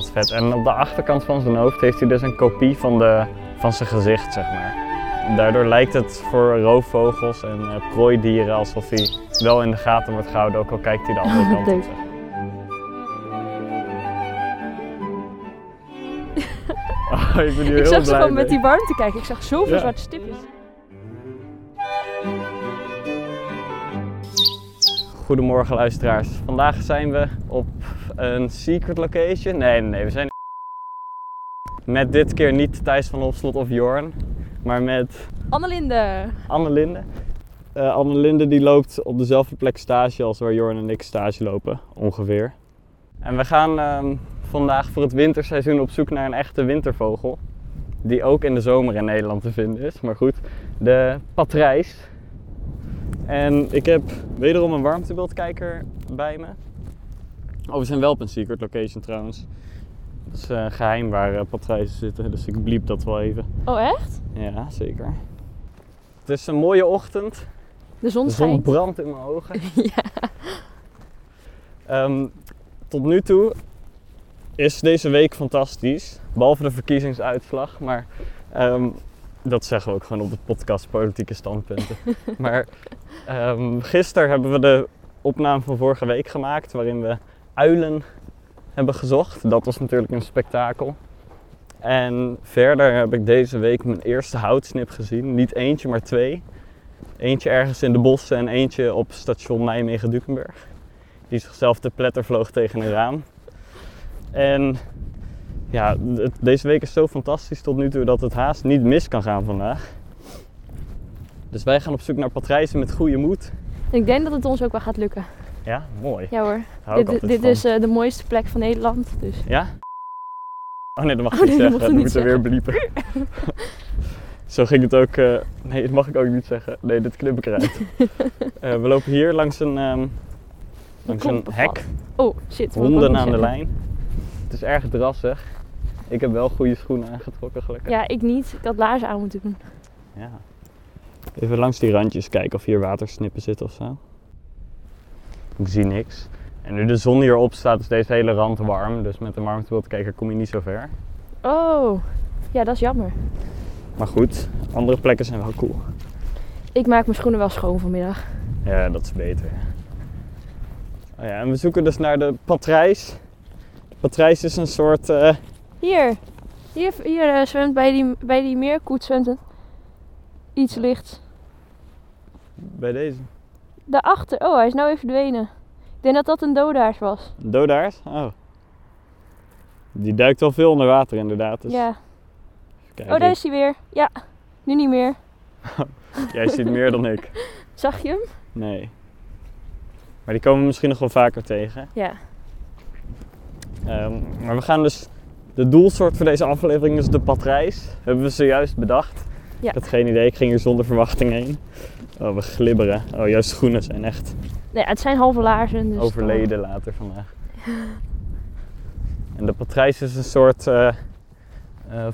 is vet. En op de achterkant van zijn hoofd heeft hij dus een kopie van, de, van zijn gezicht, zeg maar. Daardoor lijkt het voor roofvogels en eh, prooidieren alsof hij wel in de gaten wordt gehouden, ook al kijkt hij de andere kant op. Leuk. zeg maar. Oh, ik ben hier Ik heel zag ze blij gewoon mee. met die warmte kijken. Ik zag zoveel Ja. zwarte stipjes. Goedemorgen luisteraars. Vandaag zijn we op een secret location. Nee, nee, nee, we zijn in met dit keer niet Thijs van Hofslot of Jorn, maar met Annelinde. Annelinde. Eh Annelinde die loopt op dezelfde plek stage als waar Jorn en ik stage lopen, ongeveer. En we gaan ehm, vandaag voor het winterseizoen op zoek naar een echte wintervogel. Die ook in de zomer in Nederland te vinden is. Maar goed, de patrijs. En ik heb wederom een warmtebeeldkijker bij me. Oh, we zijn wel op een secret location trouwens. Dat is eh, geheim waar eh, patrijzen zitten, dus ik bliep dat wel even. Oh, echt? Ja, zeker. Het is een mooie ochtend. De zon De zon schijnt. brandt in mijn ogen. Ehm, tot nu toe is deze week fantastisch. Behalve de verkiezingsuitslag. Maar ehm, dat zeggen we ook gewoon op de podcast Politieke Standpunten. maar ehm gisteren hebben we de opname van vorige week gemaakt. Waarin we uilen hebben gezocht. Dat was natuurlijk een spektakel. En verder heb ik deze week mijn eerste houtsnip gezien. Niet eentje, maar twee. Eentje ergens in de bossen en eentje op station Nijmegen-Dukenburg. Die zichzelf te pletter vloog tegen een raam. En ja, het- deze week is zo fantastisch tot nu toe dat het haast niet mis kan gaan vandaag. Dus wij gaan op zoek naar patrijzen met goede moed. Ik denk dat het ons ook wel gaat lukken. Ja, mooi. Ja hoor. Hou ik dit altijd dit van. is eh, de mooiste plek van Nederland. Dus. Ja? Oh nee, dat mag ik Oh niet nee, zeggen. Dat dat mocht moeten je we weer bliepen. Zo ging het ook. eh, nee, dat mag ik ook niet zeggen. Nee, dit knip ik eruit. Eh, we lopen hier langs een, ehm, langs een klompenpad. hek. Oh, shit. wat moet ik Honden aan de zeggen? lijn. Het is erg drassig. Ik heb wel goede schoenen aangetrokken, gelukkig. Ja, ik niet. Ik had laarzen aan moeten doen. Ja. Even langs die randjes kijken of hier watersnippen zitten of zo. Ik zie niks. En nu de zon hierop staat, is deze hele rand warm. Dus met een warmtebeeldkijker kom je niet zo ver. Oh, ja, dat is jammer. Maar goed, andere plekken zijn wel cool. Ik maak mijn schoenen wel schoon vanmiddag. Ja, dat is beter. Oh ja, en we zoeken dus naar de patrijs. De patrijs is een soort... eh, Hier, hier, hier eh, zwemt bij die, bij die meerkoet zwemt het. iets lichts. bij deze. Daarachter, oh hij is nou even verdwenen. Ik denk dat dat een dodaars was. Een Dodaard? Oh. Die duikt wel veel onder water inderdaad. Dus ja. even kijken. Oh, daar is hij weer. Ja, nu niet meer. Jij ziet meer dan ik. Zag je hem? Nee. Maar die komen we misschien nog wel vaker tegen. Ja. Ehm, maar we gaan dus... De doelsoort voor deze aflevering is de patrijs. Hebben we zojuist bedacht. Ja. Ik had geen idee. Ik ging hier zonder verwachting heen. Oh, we glibberen. Oh, jouw schoenen zijn echt Nee, het zijn halve laarzen. Dus overleden later vandaag. En de patrijs is een soort eh eh,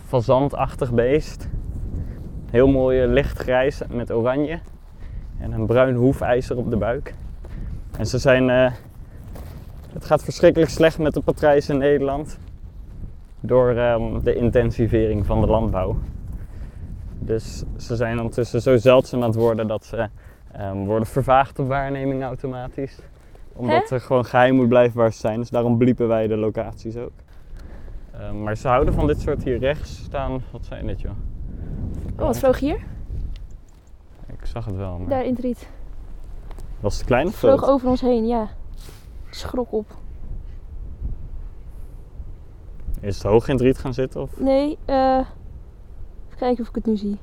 fazantachtig beest. Heel mooi eh, lichtgrijs met oranje. En een bruin hoefijzer op de buik. En ze zijn... eh, het gaat verschrikkelijk slecht met de patrijs in Nederland. Door ehm, de intensivering van de landbouw. Dus ze zijn ondertussen zo zeldzaam aan het worden dat ze ehm, worden vervaagd op waarneming automatisch. Omdat er gewoon geheim moet blijven waar ze zijn. Dus daarom bliepen wij de locaties ook. Ehm, maar ze houden van dit soort hier rechts staan. Wat zijn dit joh? Oh, wat vloog hier? Ik zag het wel, maar Daar in het riet. was het klein of groot? Vloog over ons heen, ja. Schrok op. Is het hoog in het riet gaan zitten? Of? Nee, eh. even kijken of ik het nu zie.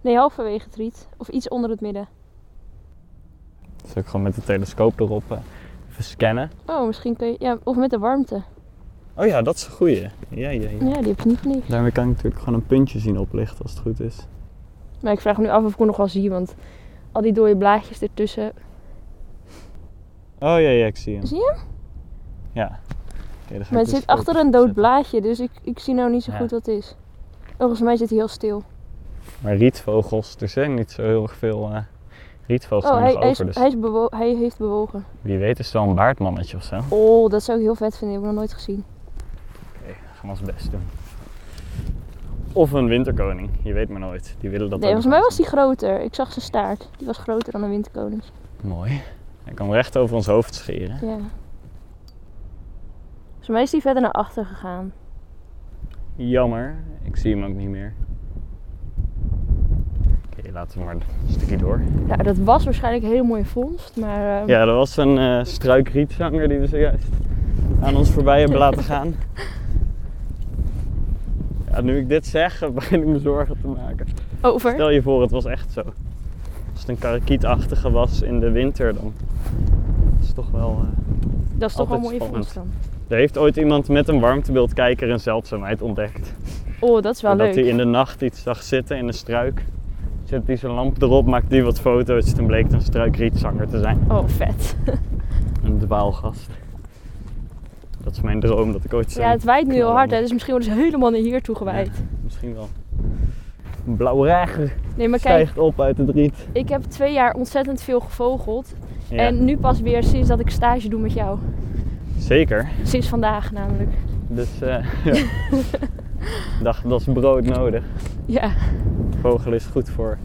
Nee, halverwege het riet. Of iets onder het midden. Zal ik gewoon met de telescoop erop eh, even scannen? Oh, misschien kun je... Ja, of met de warmte. Oh ja, dat is een goeie. Ja, ja, ja. Ja, die heb je niet voor niks. Daarmee kan ik natuurlijk gewoon een puntje zien oplichten als het goed is. Maar ik vraag me nu af of ik hem nog wel zie, want al die dode blaadjes ertussen. Oh ja, ja, ik zie hem. Zie je hem? Ja. Oké, dan ga ik Maar het de zit scope achter een dood zetten. blaadje, dus ik, ik zie nou niet zo Ja. goed wat het is. Oh, Volgens mij zit hij heel stil. Maar rietvogels, er zijn niet zo heel erg veel eh, rietvogels Oh, meer hij, nog hij, is, over. dus hij, is bewo- hij heeft bewogen. wie weet is het wel een baardmannetje of zo. Oh, dat zou ik heel vet vinden. Die heb ik nog nooit gezien. Nederlanders best doen. Of een winterkoning, je weet maar nooit. Die willen dat nee, ook volgens nog mij wel was die groter. Ik zag zijn staart. Die was groter dan een winterkoning. eens. Mooi. Hij kan recht over ons hoofd scheren. Ja. Volgens mij is die verder naar achter gegaan. Jammer, ik zie hem ook niet meer. Oké, laten we maar een stukje door. Nou, dat was waarschijnlijk een hele mooie vondst, maar... eh, Ja, er was een eh struikrietzanger die we zojuist aan ons voorbij hebben laten gaan. Ja, nu ik dit zeg, begin ik me zorgen te maken. Over? Stel je voor, het was echt zo. Als het een karakietachtige was in de winter, dan is het toch wel... eh, dat is toch wel een mooie altijd vondst dan. Er heeft ooit iemand met een warmtebeeldkijker een zeldzaamheid ontdekt. Oh, dat is wel Omdat leuk. hij in de nacht iets zag zitten in een struik. Zet hij zijn lamp erop, maakt hij wat foto's. Toen bleek het een struikrietzanger te zijn. Oh, vet. Een dwaalgast. Dat is mijn droom, dat ik ooit zo... Ja, het waait nu heel hard, hè, knallen. dus misschien worden ze helemaal naar hier toe gewijd. Misschien wel. Een blauwe reiger Nee, maar kijk, stijgt op uit het riet. ik heb twee jaar ontzettend veel gevogeld. Ja, En nu pas weer sinds dat ik stage doe met jou. Zeker. Sinds vandaag namelijk. Dus eh ja. Ik dacht, dat is brood nodig. Ja. Vogel is goed voor,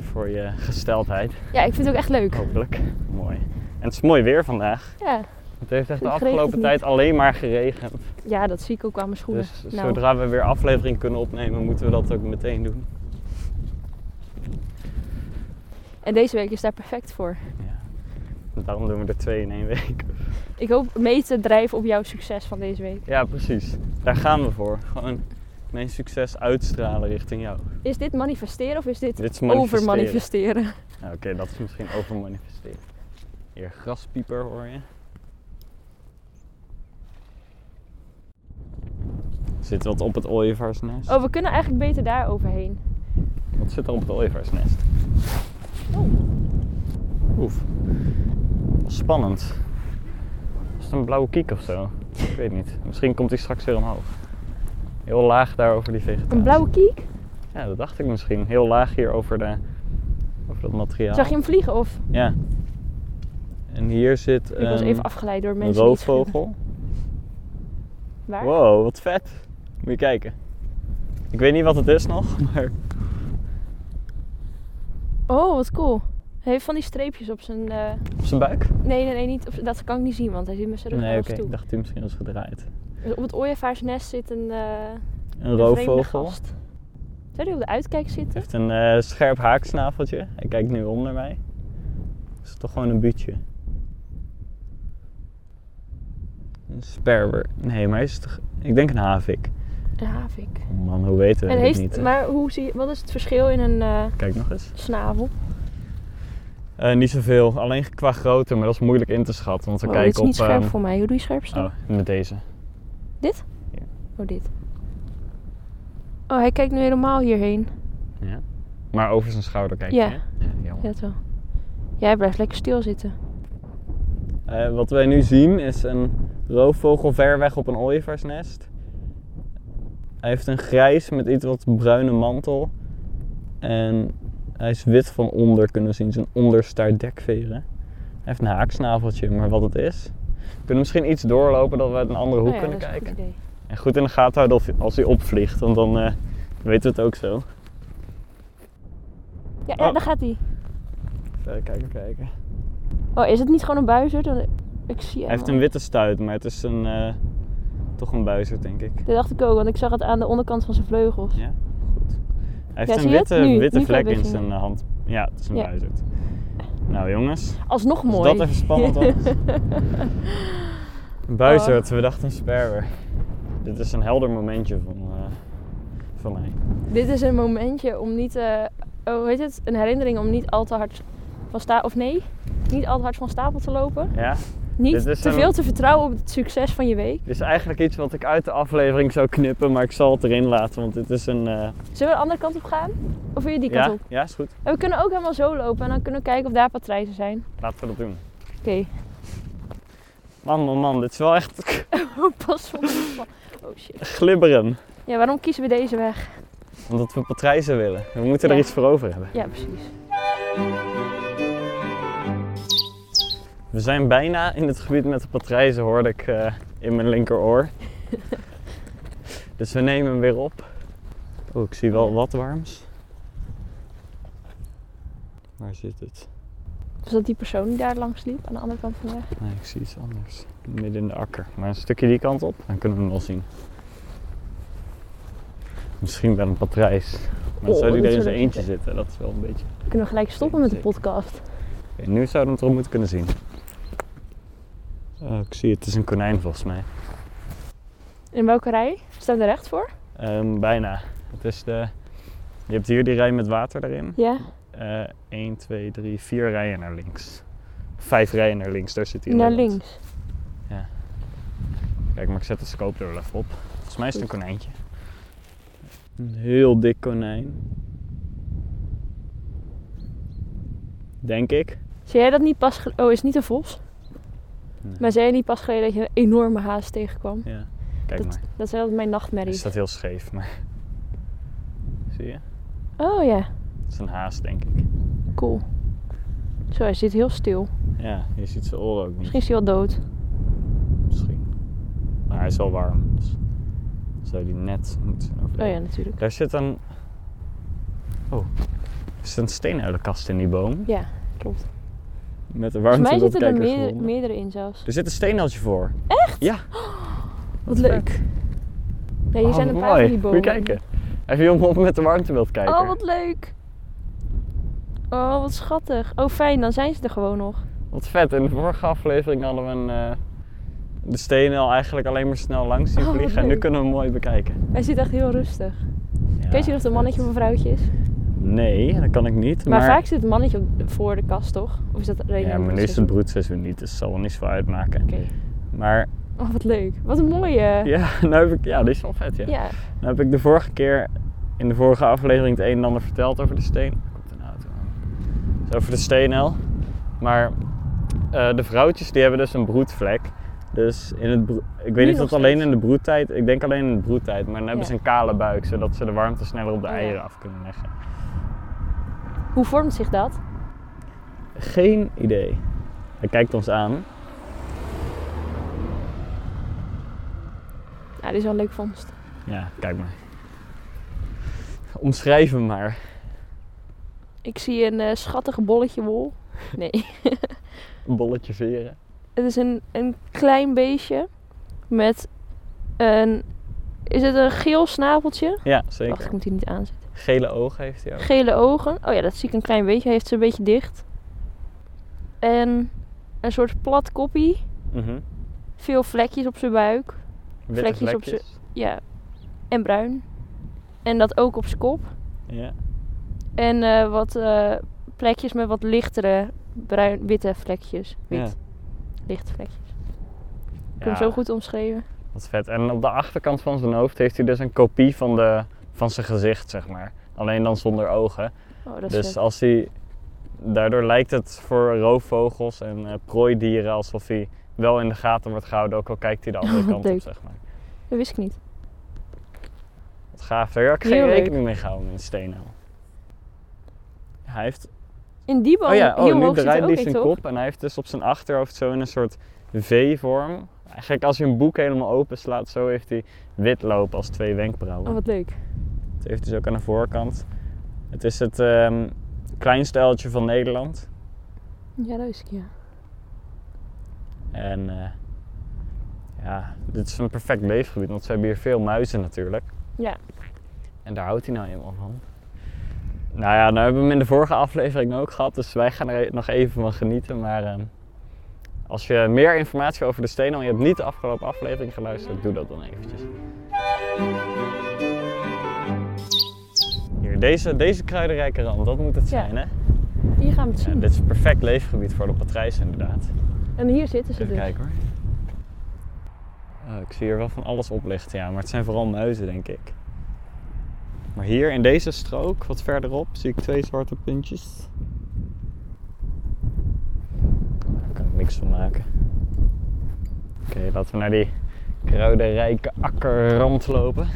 voor je gesteldheid, ja, ik vind het ook echt leuk. hopelijk. Mooi. En het is mooi weer vandaag. Ja. Het heeft echt de Het regent afgelopen niet. tijd alleen maar geregend. ja, dat zie ik ook aan mijn schoenen. Dus Nou, zodra we weer aflevering kunnen opnemen, moeten we dat ook meteen doen. En deze week is daar perfect voor. Daarom doen we er twee in één week. Ik hoop mee te drijven op jouw succes van deze week. Ja, precies. Daar gaan we voor. Gewoon mijn succes uitstralen richting jou. Is dit manifesteren of is dit, Dit is manifesteren. overmanifesteren? Ja, Oké, dat is misschien overmanifesteren. Hier, graspieper hoor je. Zit wat op het ooievaarsnest? Oh, we kunnen eigenlijk beter daar overheen. Wat zit er op het ooievaarsnest? Oh. Oef. Wel Spannend. Is het een blauwe kiek of zo? Ik weet niet. Misschien komt hij straks weer omhoog. Heel laag daar over die vegetatie. Een blauwe kiek? Ja, dat dacht ik misschien. Heel laag hier over, de, over dat materiaal. Zag je hem vliegen of? Ja. En hier zit Ik was een- even afgeleid door een mensen. die iets roofvogel. vinden. Waar? Wow, wat vet. Moet je kijken. Ik weet niet wat het is nog, maar Oh, wat cool. Hij heeft van die streepjes op zijn... eh, op zijn buik? Nee, nee, nee, niet. op- Dat kan ik niet zien, want hij zit met zijn rug naar Nee, ons oké. Ik toe. dacht hij misschien was gedraaid. Dus op het ooievaarsnest zit een, eh Een een vreemde roofvogel. gast. Zou die op de uitkijk zitten? heeft een eh, scherp haaksnaveltje. Hij kijkt nu om naar mij. Is het toch gewoon een buutje? Een sperwer. Nee, maar hij is toch... Ik denk een havik. Een havik. Oh man, hoe weten we En dit heeft, niet? hè? maar hoe zie, wat is het verschil in een eh, Kijk nog eens. snavel? Eh, niet zoveel. Alleen qua grootte, maar dat is moeilijk in te schatten. Want we Oh, dit is kijken op... niet scherp ehm, voor mij. Hoe doe je scherp staan? Oh, met deze. Dit? Ja. Oh, dit. Oh, hij kijkt nu helemaal hierheen. Ja. Maar over zijn schouder kijken. Ja. hè? Ja, jammer. dat wel. Jij blijft lekker stilzitten. Eh, wat wij nu zien is een roofvogel ver weg op een ooievaarsnest. Hij heeft een grijs met iets wat bruine mantel. En hij is wit van onder kunnen zien. Zijn onderstaart dekveren. Hij heeft een haaksnaveltje, maar wat het is... We kunnen misschien iets doorlopen dat we uit een andere hoek Oh ja, kunnen dat is een kijken. goed idee. En goed in de gaten houden of, als hij opvliegt, want dan eh, weten we het ook zo. Ja, ja, Oh. daar gaat hij. Even kijken, kijken. Oh, is het niet gewoon een buizerd? Want Ik zie hem Hij heeft al. een witte stuit, maar het is een, eh, toch een buizerd, denk ik. Dat dacht ik ook, want ik zag het aan de onderkant van zijn vleugels. Ja, goed. Hij Ja, heeft zie een je het? witte, Nu- witte nu kan je vlek in het zien. zijn eh, hand. Ja, het is een Ja. buizerd. Nou jongens, Alsnog als mooi. dat even spannend was. Een Oh. buizerd, we dachten een sperwer. Dit is een helder momentje van, eh, van mij. Dit is een momentje om niet, eh oh, hoe heet het? Een herinnering om niet al te hard van stapel, of nee, niet al te hard van stapel te lopen. Ja? Niet Dit is te een- veel te vertrouwen op het succes van je week. Dit is eigenlijk iets wat ik uit de aflevering zou knippen, maar ik zal het erin laten, want dit is een... eh, Zullen we de andere kant op gaan? Of wil je die kant ja? op? ja, is goed. En we kunnen ook helemaal zo lopen en dan kunnen we kijken of daar patrijzen zijn. Laten we dat doen. Oké, Man, man, man, dit is wel echt oh, pas op. Oh shit. glibberen. Ja, waarom kiezen we deze weg? Omdat we patrijzen willen. We moeten er Ja. iets voor over hebben. Ja, precies. We zijn bijna in het gebied met de patrijzen, hoorde ik eh, in mijn linkeroor. Dus we nemen hem weer op. Oh, ik zie wel wat warms. Waar zit het? Was dat die persoon die daar langs liep aan de andere kant van de weg? Nee, ik zie iets anders. Midden in de akker. Maar een stukje die kant op, dan kunnen we hem wel zien. Misschien wel een patrijs. Maar dan Oh, zou die dat er in zou zijn leuk eentje zijn. zitten. Dat is wel een beetje... Kunnen we gelijk stoppen met de podcast? Oké, nu zouden we hem toch moeten kunnen zien. Oh, ik zie het. Het is een konijn volgens mij. In welke rij? Staan we er recht voor? Ehm, bijna. Het is de... Je hebt hier die rij met water erin. Eh, Ja. 1, 2, 3, 4 rijen naar links. Vijf rijen naar links, daar zit hij in Naar Nederland. links. Kijk, maar ik zet de scope er wel even op. Volgens mij is het een konijntje. Een heel dik konijn. Denk ik. Zei jij dat niet pas... gel- Oh, is het niet een vos? Nee. Maar zei jij niet pas geleden dat je een enorme haas tegenkwam? Ja, kijk maar. Dat is altijd mijn nachtmerrie. Is dat heel scheef, maar... Zie je? Oh ja, Het is een haas, denk ik. cool. Zo, hij zit heel stil. Ja, je ziet zijn oren ook niet. Misschien is hij wel dood. Misschien. Maar hij is wel warm, dus... Zou die net moeten zijn Oh overleden. ja, natuurlijk. Daar zit een... Oh. Er zit een steenuilenkast in die boom. Ja, klopt. Met een Volgens mij zitten er warmteloopkijker meerdere, gewonden. meerdere in zelfs. Er zit een steenuiltje voor. Echt? Ja. Wat leuk. Nee, hier Oh, zijn een wat paar mooi. van die bomen. Moet je kijken. Even je om op met de warmtebeeldkijker. Oh, wat leuk. Oh, wat schattig. Oh, fijn, dan zijn ze er gewoon nog. Wat vet. In de vorige aflevering hadden we een, eh, de steenuil eigenlijk alleen maar snel langs zien Oh, wat vliegen. En nu leuk. kunnen we hem mooi bekijken. Hij zit echt heel rustig. Ja, Weet je of het een mannetje of vet. een vrouwtje is? Nee, dat kan ik niet. Maar, vaak zit het mannetje op- voor de kast, toch? Of is dat Ja, alleen in maar nu het is het seizoen? broedseizoen niet, dus het zal wel niet zoveel uitmaken. Oké. Maar Oh, wat leuk. Wat een mooie. ja, nou heb ik, ja, die is wel vet, ja. Ja. Nou heb ik de vorige keer in de vorige aflevering het een en ander verteld over de steen. Komt een auto aan. Dus over de steenel. Maar eh, de vrouwtjes die hebben dus een broedvlek. Dus in het broe- ik weet niet of nog dat alleen steeds. in de broedtijd, ik denk alleen in de broedtijd, maar dan hebben Ja. ze een kale buik zodat ze de warmte sneller op de Oh ja. eieren af kunnen leggen. Hoe vormt zich dat? Geen idee. Hij kijkt ons aan. Ja, dit is wel een leuk vondst. Ja, kijk maar. Omschrijf hem maar. Ik zie een eh, schattig bolletje wol. Nee. Een bolletje veren. het is een, een klein beestje met een... Is het een geel snabeltje? Ja, Wacht, zeker. ik moet die niet aanzetten. Gele ogen heeft hij ook. Gele ogen. Oh ja, dat zie ik een klein beetje. Hij heeft ze een beetje dicht. En een soort plat koppie. Mhm. Veel vlekjes op zijn buik. Witte Vlekjes op vlekjes. Ja. En bruin. En dat ook op zijn kop. Ja. En eh, wat eh, plekjes met wat lichtere bruin, witte vlekjes. Wit. Lichte vlekjes. Ik heb hem zo goed omschreven. Wat vet. En op de achterkant van zijn hoofd heeft hij dus een kopie van, de, van zijn gezicht, zeg maar. Alleen dan zonder ogen. Oh, dat is Dus vet. als hij. Daardoor lijkt het voor roofvogels en eh, prooidieren alsof hij wel in de gaten wordt gehouden, ook al kijkt hij de andere Wat kant op, Oh, leuk. zeg maar. Dat wist ik niet. Wat gaaf. Daar heb ik geen Heel leuk. rekening mee gehouden in Steenhal. Hij heeft. In die boom Oh ja, heel oh, nu hoog zit er draait ook hij in, zijn toch? kop en hij heeft dus op zijn achterhoofd zo in een soort V-vorm. Eigenlijk als je een boek helemaal open slaat, zo heeft hij wit lopen als twee wenkbrauwen. Oh, wat leuk. Het heeft dus ook aan de voorkant. Het is het ehm kleinste uiltje van Nederland. Ja, dat wist ik, ja. En eh, ja, dit is een perfect leefgebied, want ze hebben hier veel muizen natuurlijk. Ja. En daar houdt hij nou helemaal van. Nou ja, nou hebben we hem in de vorige aflevering ook gehad, dus wij gaan er e- nog even van genieten. Maar ehm, als je meer informatie over de stenen, en je hebt niet de afgelopen aflevering geluisterd, doe dat dan eventjes. Hier, deze, deze kruidenrijke rand, dat moet het Ja. zijn hè? Hier gaan we het Ja, zien. dit is een perfect leefgebied voor de patrijs inderdaad. En hier zitten ze Even dus. kijken hoor. Oh, ik zie hier wel van alles oplichten, ja. Maar het zijn vooral muizen, denk ik. Maar hier in deze strook, wat verderop, zie ik twee zwarte puntjes. Daar kan ik niks van maken. Oké, laten we naar die kruidenrijke akkerrand lopen.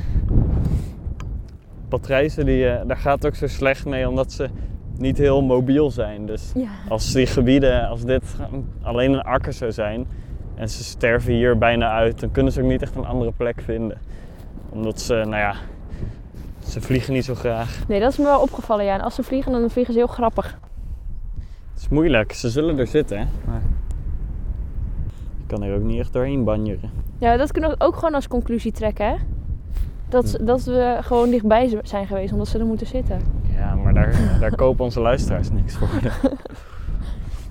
Patrijzen, die, eh, daar gaat het ook zo slecht mee omdat ze niet heel mobiel zijn. Dus Ja. als die gebieden, als dit alleen een akker zou zijn en ze sterven hier bijna uit, dan kunnen ze ook niet echt een andere plek vinden. Omdat ze, nou ja, ze vliegen niet zo graag. Nee, dat is me wel opgevallen, ja. En als ze vliegen, dan vliegen ze heel grappig. Het is moeilijk. Ze zullen er zitten, hè. Maar je kan er ook niet echt doorheen banjeren. Ja, dat kunnen we ook gewoon als conclusie trekken, hè. Dat, Hm. dat we gewoon dichtbij z- zijn geweest, omdat ze er moeten zitten. Ja, maar daar, daar kopen onze luisteraars niks voor.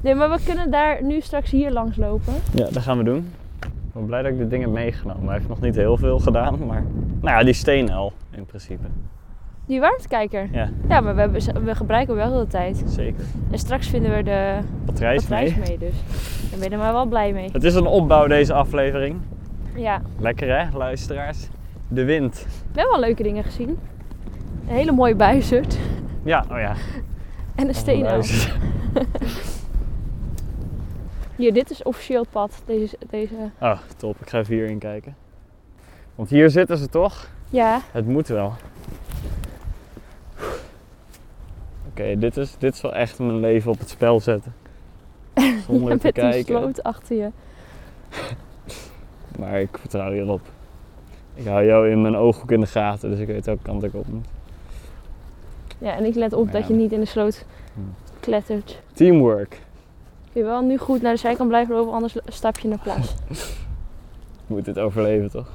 Nee, maar we kunnen daar nu straks hier langs lopen. Ja, dat gaan we doen. Ik ben blij dat ik dit ding heb meegenomen. Hij heeft nog niet heel veel gedaan, maar... Nou ja, die steen al, in principe. Die warmtekijker. Ja, Ja, maar we, hebben, ze- we gebruiken hem wel de tijd. zeker. En straks vinden we de Batterij is batterijs mee. mee, dus. Daar ben ik maar wel blij mee. Het is een opbouw deze aflevering. Ja, Lekker hè, luisteraars? De wind. we hebben wel leuke dingen gezien. Een hele mooie buizerd. Ja, oh ja. Oh, En een steen ook. Hier, dit is officieel het pad. Deze, deze. Oh, top. Ik ga even hierin kijken. Want hier zitten ze toch? Ja, Het moet wel. Oké, dit, is, dit is wel echt mijn leven op het spel zetten. Zonder met te die kijken. sloot achter je. Maar ik vertrouw je op. Ik hou jou in mijn ooghoek in de gaten, dus ik weet welke kant ik op moet. Ja, en ik let op dat Ja. je niet in de sloot Hmm. klettert. Teamwork. Kun je wel nu goed naar de zijkant blijven lopen, anders stap je in de plas. Ik moet dit overleven toch?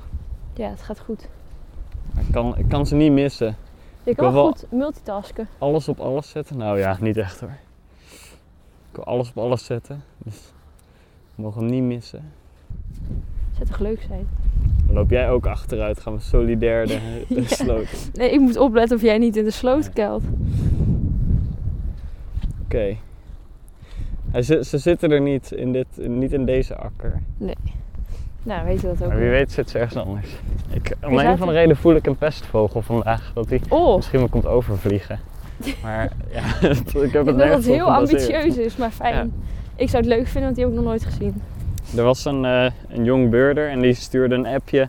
Ja, het gaat goed. Maar ik kan, ik kan ze niet missen. Je wil kan wel wel- goed multitasken. Alles op alles zetten? Nou ja, niet echt hoor. Ik wil alles op alles zetten. Dus we mogen hem niet missen. Het zou toch leuk zijn? Dan loop jij ook achteruit, gaan we solidair de, de Ja. sloot. in. Nee, ik moet opletten of jij niet in de sloot Ja. kelt. Oké. Hij zit- Ze zitten er niet in, dit, niet in deze akker. Nou, weet je dat ook. Maar wie wel. weet zit ze ergens anders. Ik, om zaten- een van de reden voel ik een pestvogel vandaag. Dat hij Oh, misschien wel komt overvliegen. Maar ja, ik heb ik het denk dat het nergens op heel gebaseerd. ambitieus is, maar fijn. Ik zou het leuk vinden, want die heb ik nog nooit gezien. Er was een, eh, een jong beurder en die stuurde een appje.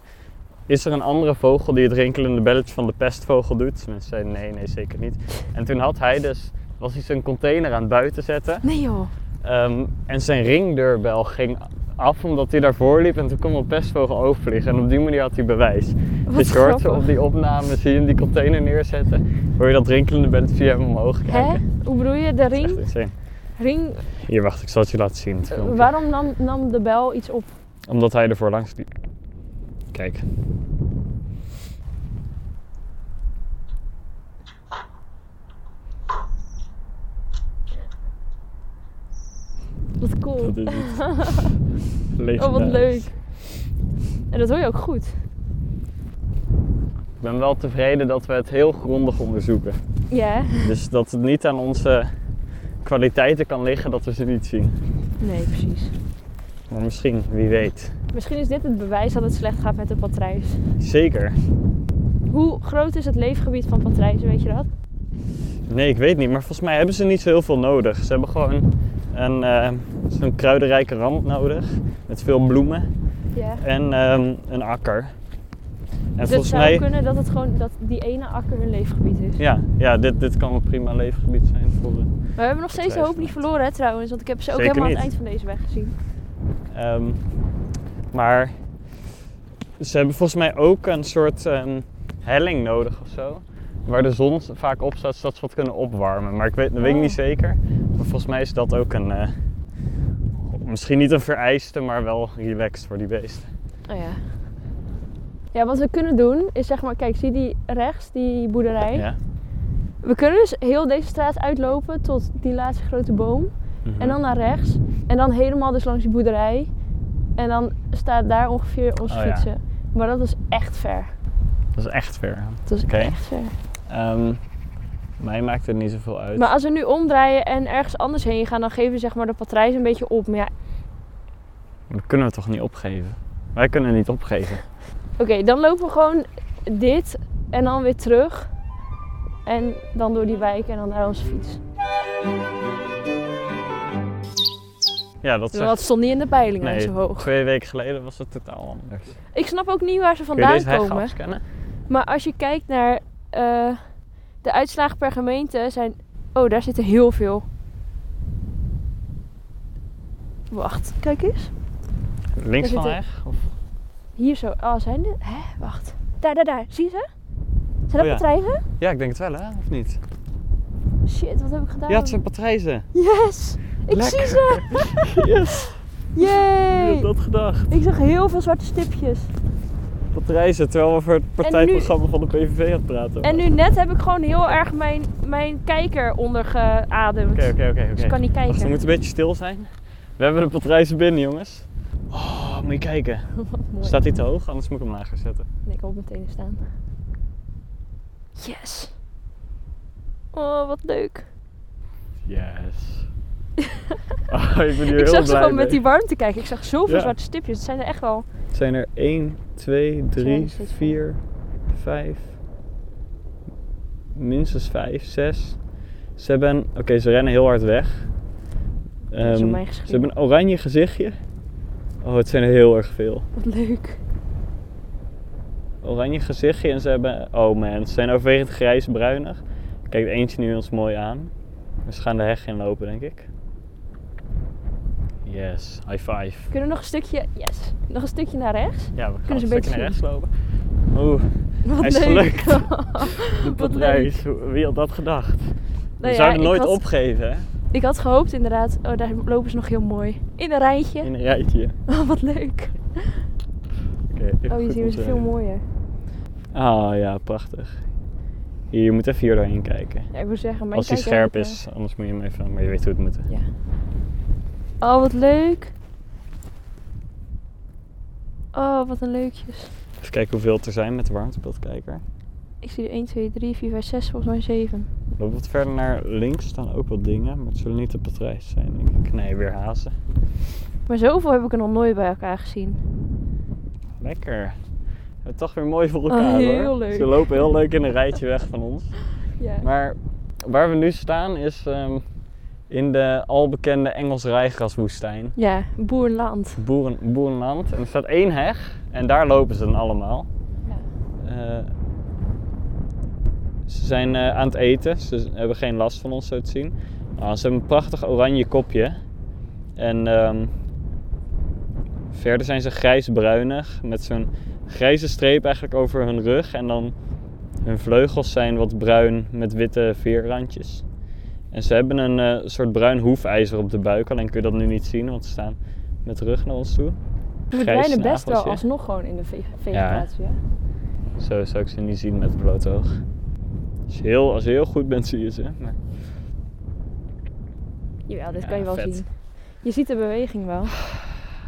Is er een andere vogel die het rinkelende belletje van de pestvogel doet? Mensen zeiden nee, nee zeker niet. En toen had hij dus, was hij zijn container aan het buiten zetten. Nee joh. Ehm, en zijn ringdeurbel ging af omdat hij daarvoor liep en toen kon een pestvogel overvliegen. En op die manier had hij bewijs. Wat dus je hoort ze grappig. op die opname, zie je hem die container neerzetten. Hoor je dat rinkelende belletje via hem omhoog Hè? kijken. Hoe bedoel je? De Dat is echt ring? insane. ring eh, Hier, wacht, ik zal het je laten zien. het filmpje. waarom nam, nam de bel iets op? Omdat hij ervoor langs liep. Kijk. Wat cool. Dat is het. Oh, wat Legendarisch. Oh, leuk. En dat hoor je ook goed. Ik ben wel tevreden dat we het heel grondig onderzoeken. Ja? Dus dat het niet aan onze kwaliteiten kan liggen dat we ze niet zien. Nee, precies. Maar misschien, wie weet. Misschien is dit het bewijs dat het slecht gaat met de patrijs. Zeker. Hoe groot is het leefgebied van patrijzen, weet je dat? Nee, ik weet niet. Maar volgens mij hebben ze niet zo heel veel nodig. Ze hebben gewoon een, eh, zo'n kruidenrijke rand nodig. Met veel bloemen. Ja. En ehm, een akker. En Dus het volgens zou mij... kunnen dat het gewoon dat die ene akker hun leefgebied is. Ja, ja dit, dit kan een prima leefgebied zijn voor... eh, Maar we hebben nog steeds de hoop niet verloren hè, trouwens, want ik heb ze ook Zeker helemaal aan het niet. eind van deze weg gezien. Ehm, maar ze hebben volgens mij ook een soort ehm, helling nodig of zo. Waar de zon vaak op staat, zodat ze wat kunnen opwarmen. Maar ik weet, dat weet ik Oh. niet zeker. Maar volgens mij is dat ook een. eh, misschien niet een vereiste, maar wel relaxed voor die beesten. Oh ja. Ja, wat we kunnen doen is zeg maar, kijk, zie die rechts, die boerderij? Ja. We kunnen dus heel deze straat uitlopen tot die laatste grote boom. Mhm. En dan naar rechts. En dan helemaal dus langs die boerderij. En dan staat daar ongeveer ons Oh ja. fietsen. Maar dat is echt ver. Dat is echt ver. Dat is Oké. echt ver. Ehm, mij maakt het niet zoveel uit. Maar als we nu omdraaien en ergens anders heen gaan, dan geven we zeg maar de patrijs een beetje op. Maar ja, Dat kunnen we toch niet opgeven? Wij kunnen niet opgeven. oké, dan lopen we gewoon dit en dan weer terug. En dan door die wijk en dan naar onze fiets. Ja, dat Want het zegt... stond niet in de peilingen Nee, zo hoog. twee weken geleden was het totaal anders. Ik snap ook niet waar ze Kun je vandaan deze heg komen. afscannen? Maar als je kijkt naar eh, de uitslagen per gemeente zijn... Oh, daar zitten heel veel. Wacht, kijk eens. Links Daar van zit weg? Of Hier zo. Oh, zijn dit? Hè, wacht. Daar, daar, daar. Zie je ze? Zijn dat Oh ja. patrijzen? Ja, ik denk het wel, hè? Of niet? Shit, wat heb ik gedaan? Ja, het zijn patrijzen. Yes! Ik Lekker. zie ze! Yes! Wie Yay! had dat gedacht? Ik zag heel veel zwarte stipjes. Patrijzen, terwijl we over het partijprogramma van de PVV aan het praten En waren. nu net heb ik gewoon heel erg mijn, mijn kijker ondergeademd. Oké, oké, oké. Dus ik kan oké. niet kijken. Wacht, we moeten een beetje stil zijn. We hebben de patrijzen binnen, jongens. Oh, moet je kijken. Wat mooi. Staat hij te hoog? Anders moet ik hem lager zetten. Nee, ik wil op mijn tenen staan. Yes! Oh, wat leuk. Yes. Oh, ik ben hier ik heel zag ze blij gewoon mee. met die warmte kijken. Ik zag zoveel Ja. zwarte stipjes. Het zijn er echt wel. Zijn er 1, 2, 3, zes, 4, 5, minstens 5, 6. Ze hebben, oké, ze rennen heel hard weg. is Ehm, om mij ze geschreven. hebben een oranje gezichtje. Oh, het zijn er heel erg veel. Wat leuk. Oranje gezichtje en ze hebben, oh man, ze zijn overwegend grijs-bruinig. Kijk, eentje nu ons mooi aan. Dus Ze gaan de heg in lopen, denk ik. Yes, high five. Kunnen we nog een stukje... Yes. Nog een stukje naar rechts? Ja, we gaan Kunnen een ze een stukje naar rechts lopen. Oeh, Wat Hij is leuk. gelukt. de Wat leuk. patrijs. Wie had dat gedacht? Nou we ja, zouden ik nooit had- opgeven, hè? Ik had gehoopt inderdaad... Oh, daar lopen ze nog heel mooi. In een rijtje. In een rijtje. Oh, wat leuk. Oké, Oh, hier zien we ze veel mooier. Ah ja, prachtig. Hier, je moet even hier doorheen kijken. Ja, ik wil zeggen, mijn Als hij kijker scherp heeft, eh, is, anders moet je hem even... Maar je weet hoe het moet. hè? Ja. Oh, wat leuk. Oh, wat een leukjes. Even kijken hoeveel het er zijn met de warmtebeeldkijker. Ik zie er 1, 2, 3, 4, 5, 6, volgens mij 7. Loop wat verder naar links, staan ook wat dingen. Maar het zullen niet de patrijs zijn, denk ik. Nee, weer hazen. Maar zoveel heb ik er nog nooit bij elkaar gezien. Lekker. We hebben het toch weer mooi voor elkaar, Oh, Ah, heel hoor. leuk. Ze lopen heel leuk in een rijtje weg van ons. Ja. Maar waar we nu staan is ehm, in de albekende Engels rijgraswoestijn. Ja, boerenland. Boeren, boerenland. En er staat één heg en daar lopen ze dan allemaal. Ja. Eh, ze zijn eh, aan het eten, ze hebben geen last van ons zo te zien. Ah, ze hebben een prachtig oranje kopje. En ehm, verder zijn ze grijs-bruinig met zo'n grijze streep eigenlijk over hun rug. En dan hun vleugels zijn wat bruin met witte veerrandjes. En ze hebben een eh, soort bruin hoefijzer op de buik, alleen kun je dat nu niet zien, want ze staan met de rug naar ons toe. We verdwijnen best wel snaveltje. alsnog gewoon in de ve- vegetatie. hè? Zo zou ik ze niet zien met het blote oog. Als je heel, als je heel goed bent, zie je ze. Maar Jawel, dit Ja, kan je wel vet. zien. Je ziet de beweging wel.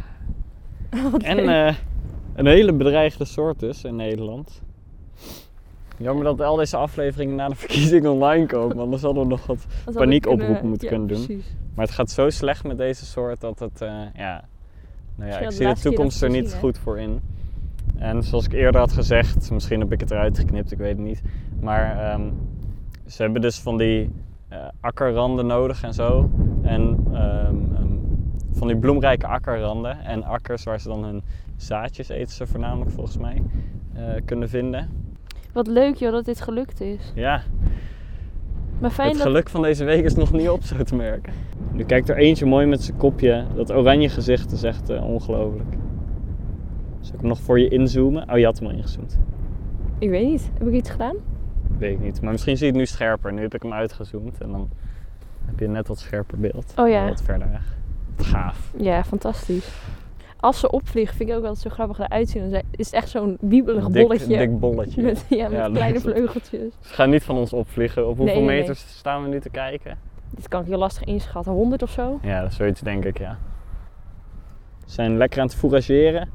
Wat En leuk. eh, een hele bedreigde soort dus in Nederland. Jammer dat al deze afleveringen na de verkiezing online komen, anders hadden we nog wat. Dat had ik paniekoproep kunnen- moeten ja, kunnen doen. Precies. Maar het gaat zo slecht met deze soort dat het, eh, ja. Nou ja, Misschien ik de zie de laatste keer toekomst dat er we niet zien, hè? goed voor in. En zoals ik eerder had gezegd, misschien heb ik het eruit geknipt, ik weet het niet. Maar ehm, ze hebben dus van die eh, akkerranden nodig en zo. En ehm, ehm, van die bloemrijke akkerranden en akkers waar ze dan hun zaadjes eten, ze voornamelijk volgens mij, eh, kunnen vinden. Wat leuk joh dat dit gelukt is. Ja, Maar fijn het dat... geluk van deze week is nog niet op zo te merken. Nu kijkt er eentje mooi met zijn kopje. Dat oranje gezicht is echt eh, ongelooflijk. Zal ik hem nog voor je inzoomen? Oh, je had hem al ingezoomd. Ik weet niet. Heb ik iets gedaan? Weet ik niet. Maar misschien zie je het nu scherper. Nu heb ik hem uitgezoomd en dan heb je een net wat scherper beeld. Oh ja. Wat verder weg. Gaaf. Ja, fantastisch. Als ze opvliegen vind ik ook altijd zo grappig eruit zien. Dan zijn- is het echt zo'n wiebelig Dik- bolletje. Dik bolletje. Met, ja, met Ja, kleine leuk. vleugeltjes. Ze gaan niet van ons opvliegen. Op hoeveel Nee, nee, nee. meters staan we nu te kijken? Dit kan ik heel lastig inschatten. 100 of zo? Ja, dat is zoiets denk ik, ja. Ze zijn lekker aan het fourageren.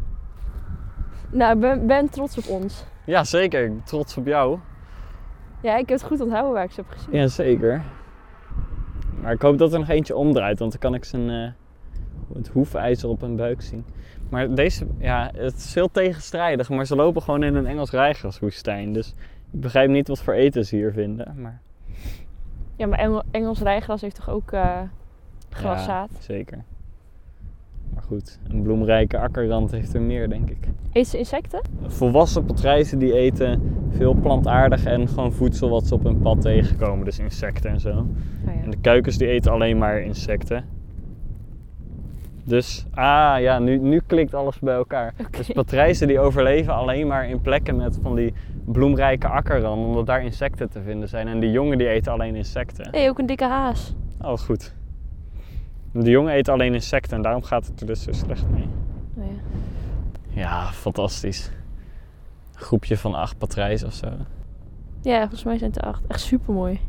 Nou, ik ben, ben trots op ons. Ja, zeker. Ik ben Trots op jou. Ja, ik heb het goed onthouden waar ik ze heb gezien. Jazeker. Maar ik hoop dat er nog eentje omdraait, want dan kan ik zijn eh, het hoefijzer op hun buik zien. Maar deze, ja, het is heel tegenstrijdig, maar ze lopen gewoon in een Engels rijgraswoestijn. Dus ik begrijp niet wat voor eten ze hier vinden. Maar Ja, maar Engel- Engels rijgras heeft toch ook eh graszaad? Ja, zeker. Maar goed, een bloemrijke akkerrand heeft er meer, denk ik. Eet ze insecten? Volwassen patrijzen die eten veel plantaardig en gewoon voedsel wat ze op hun pad tegenkomen. Dus insecten en zo. Oh, ja. En de kuikens die eten alleen maar insecten. Dus, ah ja, nu, nu klikt alles bij elkaar. Oké. Dus patrijzen die overleven alleen maar in plekken met van die bloemrijke akkerranden, omdat daar insecten te vinden zijn. En die jongen die eten alleen insecten. hey, ook een dikke haas. Oh, goed. De jongen eet alleen insecten en daarom gaat het er dus zo slecht mee. Oh ja. Ja, fantastisch. Een groepje van acht patrijs of zo. Nou, ja, volgens mij zijn het er acht. Echt super mooi.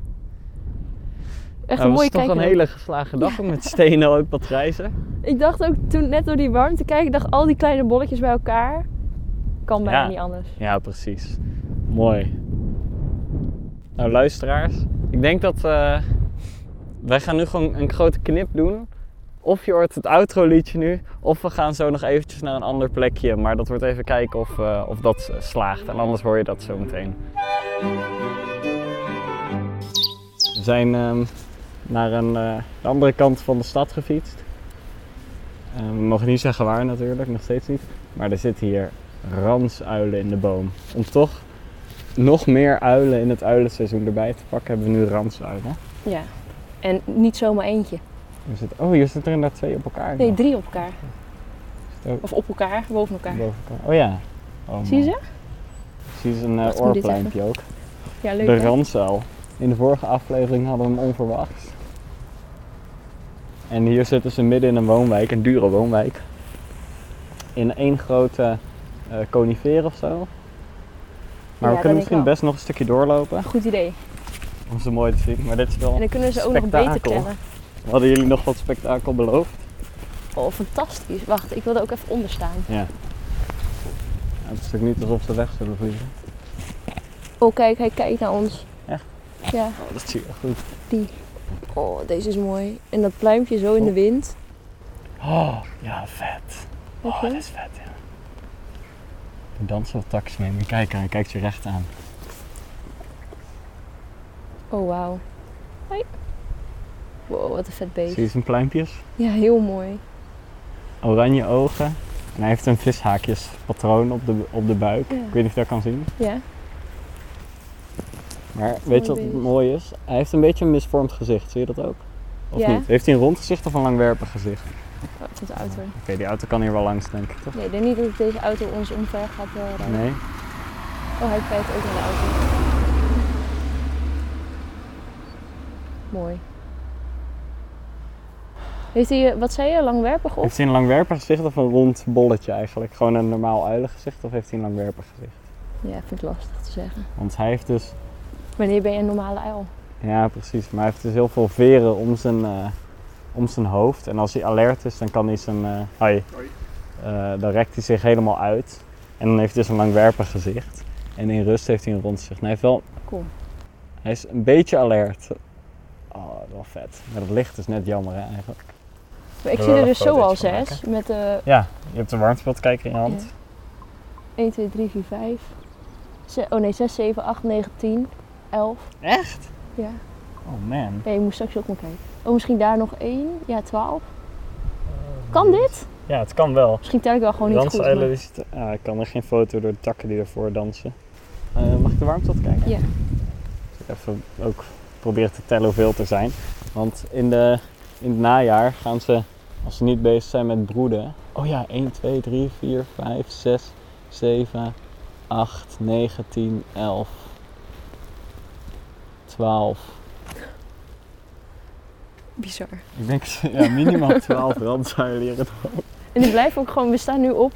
Echt Nou, een was mooie het toch kijk. een hele geslagen dag om met stenen uit patrijzen. Ik dacht ook toen net door die warmte kijken, ik dacht al die kleine bolletjes bij elkaar. Kan bijna Ja. niet anders. Ja, precies. Mooi. Nou, luisteraars. Ik denk dat eh, wij gaan nu gewoon een grote knip doen. Of je hoort het outro liedje nu, of we gaan zo nog eventjes naar een ander plekje. Maar dat wordt even kijken of, eh, of dat eh, slaagt. En anders hoor je dat zo meteen. We zijn ehm, naar een, eh, de andere kant van de stad gefietst. Eh, we mogen niet zeggen waar natuurlijk, nog steeds niet. Maar er zitten hier ransuilen in de boom. Om toch nog meer uilen in het uilenseizoen erbij te pakken, hebben we nu ransuilen. Ja. En niet zomaar eentje. Er zit, oh, hier zitten er inderdaad twee op elkaar. Nee, nog. drie op elkaar. Zit ook Of op elkaar, boven elkaar. boven elkaar. Oh ja. Oh, Zie je man. ze? Zie je ze een eh, Wacht, ik moet dit oorpluimpje ook. Ja, leuk. De hè? ransuil. In de vorige aflevering hadden we hem onverwachts. En hier zitten ze midden in een woonwijk, een dure woonwijk. In één grote eh conifeer of zo. Maar we Ja, dat denk kunnen ik misschien wel. best nog een stukje doorlopen Goed idee. om ze mooi te zien. Maar dit is wel En dan kunnen we ze ook nog beter Spektakel. kennen. Hadden jullie nog wat spektakel beloofd? Oh, fantastisch. Wacht, ik wilde ook even onder staan. Ja, het is natuurlijk niet alsof ze weg zullen vliegen. Oh, kijk, hij kijkt naar ons. Echt? Ja. Oh, dat zie je goed. Oh, deze is mooi. En dat pluimpje zo in de wind. Oh, ja, vet. Weet Oh, je? dat is vet, ja. Er dansen wat tax mee, maar kijk, hij kijkt je recht aan. Oh, wauw. Hoi. Wow, wat een vet Zie beest. je zijn pluimpjes? Ja, heel mooi. Oranje ogen. En hij heeft een vishaakjespatroon op de, op de buik. Ja. Ik weet niet of je dat kan zien. Ja. Maar weet je wat beest. mooi is? Hij heeft een beetje een misvormd gezicht. Zie je dat ook? Of Ja. niet? Heeft hij een rond gezicht of een langwerpig gezicht? Oké, Oh, het is een auto. die auto kan hier wel langs, denk ik, toch? Nee, ik denk niet dat deze auto ons omver gaat eh, rijden. Nee? Oh, hij kijkt ook naar de auto. Mooi. Heeft hij, eh, wat zei je, langwerpig op? Heeft hij een langwerpig gezicht of een rond bolletje eigenlijk? Gewoon een normaal uilengezicht of heeft hij een langwerpig gezicht? Ja, vind ik lastig te zeggen. Want hij heeft dus, Wanneer ben je een normale uil? ja precies, maar hij heeft dus heel veel veren om zijn, eh, om zijn hoofd. En als hij alert is, dan kan hij zijn, eh hoi, Eh, dan rekt hij zich helemaal uit. En dan heeft hij dus een langwerpig gezicht. En in rust heeft hij een rond gezicht. En hij heeft wel, Cool. hij is een beetje alert. Oh, dat is wel vet. Maar dat licht is net jammer hè, eigenlijk. Maar ik Zullen we zie er er dus een zo al fotootje van zes. Met eh, de Ja, je hebt de warmtebeeldkijker in je hand. Ja. 1, 2, 3, 4, 5. Ze- oh nee, 6, 7, 8, 9, 10, 11. Echt? Ja. Oh man. Nee, je moet straks ook nog kijken. Oh, misschien daar nog één. Ja, 12. Kan dit? Ja, het kan wel. Misschien tel ik wel gewoon niet goed. Dansuilen maar- die zitten- ah, ik kan er geen foto door de takken die ervoor dansen. Eh, mag ik de warmte wat kijken? Ja. Dus ik even ook proberen te tellen hoeveel er zijn. Want in, de, in het najaar gaan ze, als ze niet bezig zijn met broeden. Oh ja, 1, 2, 3, 4, 5, 6, 7, 8, 9, 10, 11, 12. Bizar. Ik denk ja, minimaal 12 randzuilen hier. in het- En die blijven ook gewoon, we staan nu op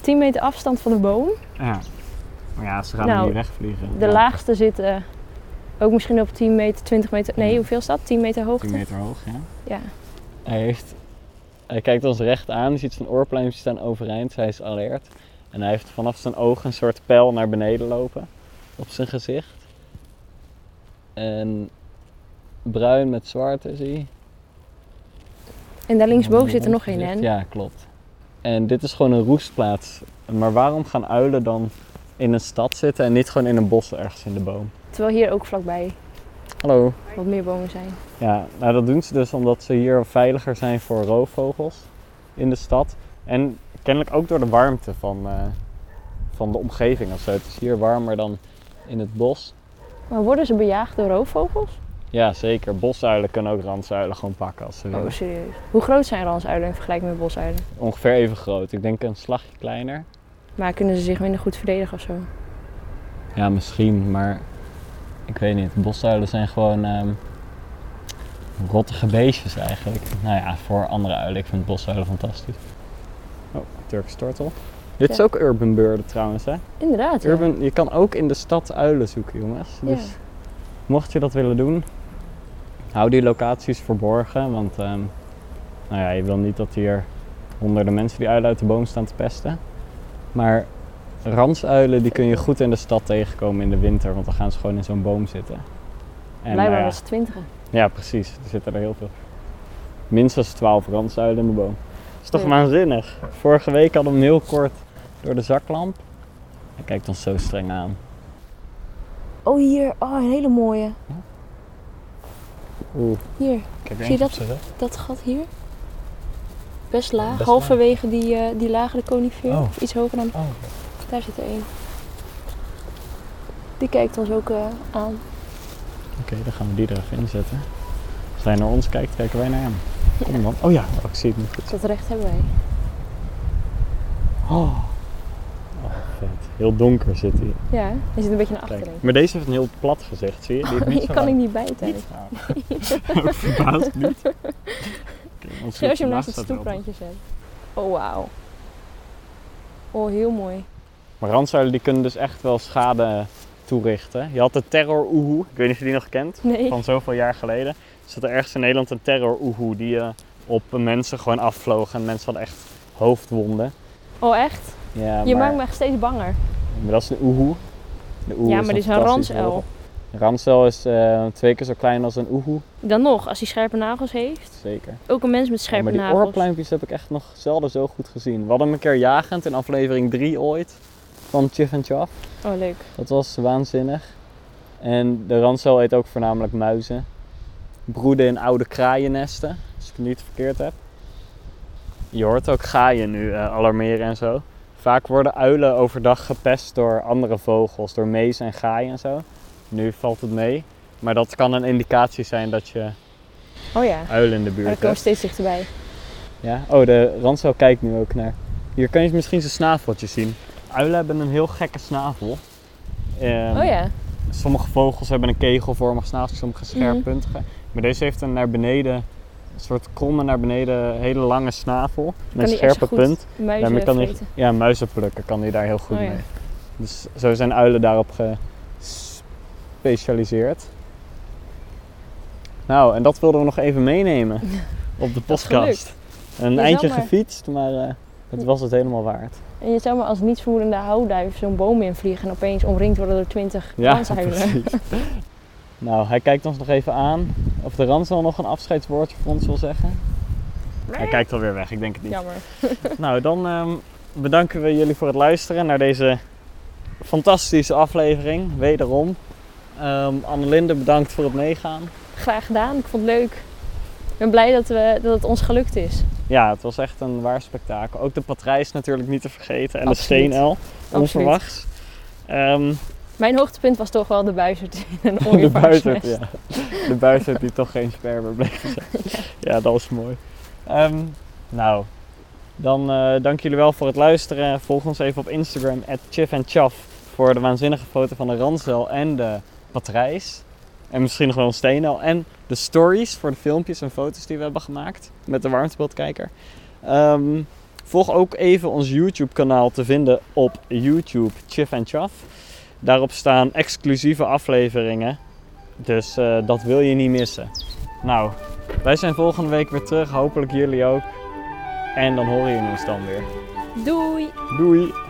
10 meter afstand van de boom. Ja. Maar ja, ze gaan Nou, er niet wegvliegen. De Ja, laagste zitten ook misschien op 10 meter, 20 meter. Nee, Ja. hoeveel is dat? 10 meter 10 hoogte? meter hoog, ja. Ja. Hij, heeft, hij kijkt ons recht aan, hij ziet zijn oorpluimpjes staan overeind, hij is alert. En hij heeft vanaf zijn ogen een soort pijl naar beneden lopen op zijn gezicht. En bruin met zwart is hij. En daar linksboven Ja, zit er nog één, hè? rondgezicht. Ja, klopt. En dit is gewoon een roestplaats. Maar waarom gaan uilen dan in een stad zitten en niet gewoon in een bos ergens in de boom? Terwijl hier ook vlakbij Hallo. wat meer bomen zijn. Ja, nou dat doen ze dus omdat ze hier veiliger zijn voor roofvogels in de stad. En kennelijk ook door de warmte van, eh, van de omgeving of zo. Het is hier warmer dan in het bos. Maar worden ze bejaagd door roofvogels? Ja, zeker. Bosuilen kunnen ook randzuilen gewoon pakken als ze willen. Oh, serieus. Hoe groot zijn ransuilen in vergelijking met bosuilen? Ongeveer even groot. Ik denk een slagje kleiner. Maar kunnen ze zich minder goed verdedigen of zo? Ja, misschien, maar ik weet niet. Bosuilen zijn gewoon ehm rottige beestjes eigenlijk. Nou ja, voor andere uilen. Ik vind bosuilen fantastisch. Oh, Turkse tortel. Dit Ja. is ook urban beurden trouwens, hè? Inderdaad. ja. Urban, je kan ook in de stad uilen zoeken, jongens. Ja. Dus mocht je dat willen doen, hou die locaties verborgen. Want ehm, nou ja, je wil niet dat hier honderden mensen die uilen uit de boom staan te pesten. Maar ransuilen die kun je goed in de stad tegenkomen in de winter. Want dan gaan ze gewoon in zo'n boom zitten. En, nou Blijkbaar ja, was het twintigen. ja, precies. Er zitten er heel veel. Minstens 12 randzuilen in de boom. Dat is toch Ja. waanzinnig? Vorige week hadden we hem heel kort door de zaklamp. Hij kijkt ons zo streng aan. Oh, hier. Oh, een hele mooie. Oeh, Hier, ik heb Zie je eentje dat? op dat gat hier. Best laag. Best Halverwege Die, eh, die lagere conifeer. Oh. Of iets hoger dan. Oh, Daar zit er één. Die kijkt ons ook eh, aan. oké, dan gaan we die er even inzetten. Als hij naar ons kijkt, kijken wij naar hem. Kom dan. Oh ja, oh, ik zie het niet goed. Dus dat recht hebben wij. Oh, oh vet. Heel donker zit hij. Ja, hè? hij zit een beetje naar Kijk. achteren. Maar deze heeft een heel plat gezicht, zie je? Die heeft niet Ik zo kan ik lang- niet bijten. Niet? Nou, Ook verbaasd niet. Oké, ons Misschien als je hem naast naast het staat erop. stoeprandje zet. Oh, wauw. Oh, heel mooi. Maar randzuilen die kunnen dus echt wel schade toerichten. Je had de terror oehoe, ik weet niet of je die nog kent, Nee. van zoveel jaar geleden. Er zat er ergens in Nederland een terror oehoe die eh, op mensen gewoon afvloog. En mensen hadden echt hoofdwonden. Oh, echt? Ja, Je maar, maakt me echt steeds banger. maar dat is een oehoe. De oehoe Ja, maar een dit is een fantastische ransuil. vogel. Een ransuil is eh, twee keer zo klein als een oehoe. Dan nog, als hij scherpe nagels heeft. Zeker. Ook een mens met Ja, scherpe maar die nagels. oorpluimpjes heb ik echt nog zelden zo goed gezien. We hadden hem een keer jagend in aflevering 3 ooit van Chiff and Chaff. Oh, leuk. Dat was waanzinnig. En de ransuil eet ook voornamelijk muizen. Broeden in oude kraaiennesten, als ik het niet verkeerd heb. Je hoort ook gaaien nu eh, alarmeren en zo. Vaak worden uilen overdag gepest door andere vogels, door mees en gaaien en zo. Nu valt het mee. Maar dat kan een indicatie zijn dat je Oh ja, maar uilen in de dan buurt komen we hebt. steeds dichterbij. Ja? Oh, de ransuil kijkt nu ook naar. Hier kan je misschien zijn snaveltje zien. Uilen hebben een heel gekke snavel. Ehm, Oh ja, Sommige vogels hebben een kegelvormig snaveltje, sommige Mhm. scherppuntige. Maar deze heeft een naar beneden, een soort kromme naar beneden, hele lange snavel. kan Met een die extra scherpe goed punt. muizen Daarmee kan hij- vreten. ja, muizen plukken kan hij daar heel goed Oh ja. mee. Dus zo zijn uilen daarop gespecialiseerd. Nou, en dat wilden we nog even meenemen op de is podcast. Een zou eindje maar- gefietst, maar eh, het was het helemaal waard. En je zou maar als nietsvermoedende houduif zo'n boom invliegen en opeens omringd worden door twintig kanshuilen. nou, hij kijkt ons nog even aan. Of de Ransel nog een afscheidswoordje voor ons wil zeggen. Hij kijkt alweer weg, ik denk het niet. Jammer. Nou, dan ehm, bedanken we jullie voor het luisteren naar deze fantastische aflevering. Wederom. Ehm Annelinde, bedankt voor het meegaan. Graag gedaan, ik vond het leuk. Ik ben blij dat, we, dat het ons gelukt is. Ja, het was echt een waar spektakel. Ook de patrijs natuurlijk niet te vergeten. En Absoluut. de steenel, Absoluut. onverwachts. Ehm, Mijn hoogtepunt was toch wel de buizerd in een de ooievaarsnest. buizerd, ja. De buizerd die toch geen sperma bleek te zijn. Ja, dat was mooi. Ehm, nou, dan eh, dank jullie wel voor het luisteren. Volg ons even op Instagram, @chiffandchaff voor de waanzinnige foto van de Ransel en de patrijs. En misschien nog wel een steenel. En de stories voor de filmpjes en foto's die we hebben gemaakt met de warmtebeeldkijker. Ehm, volg ook even ons YouTube-kanaal te vinden op YouTube, Chiff and Chaff. Daarop staan exclusieve afleveringen. Dus eh, dat wil je niet missen. Nou, wij zijn volgende week weer terug. Hopelijk jullie ook. En dan horen jullie ons dan weer. Doei! Doei!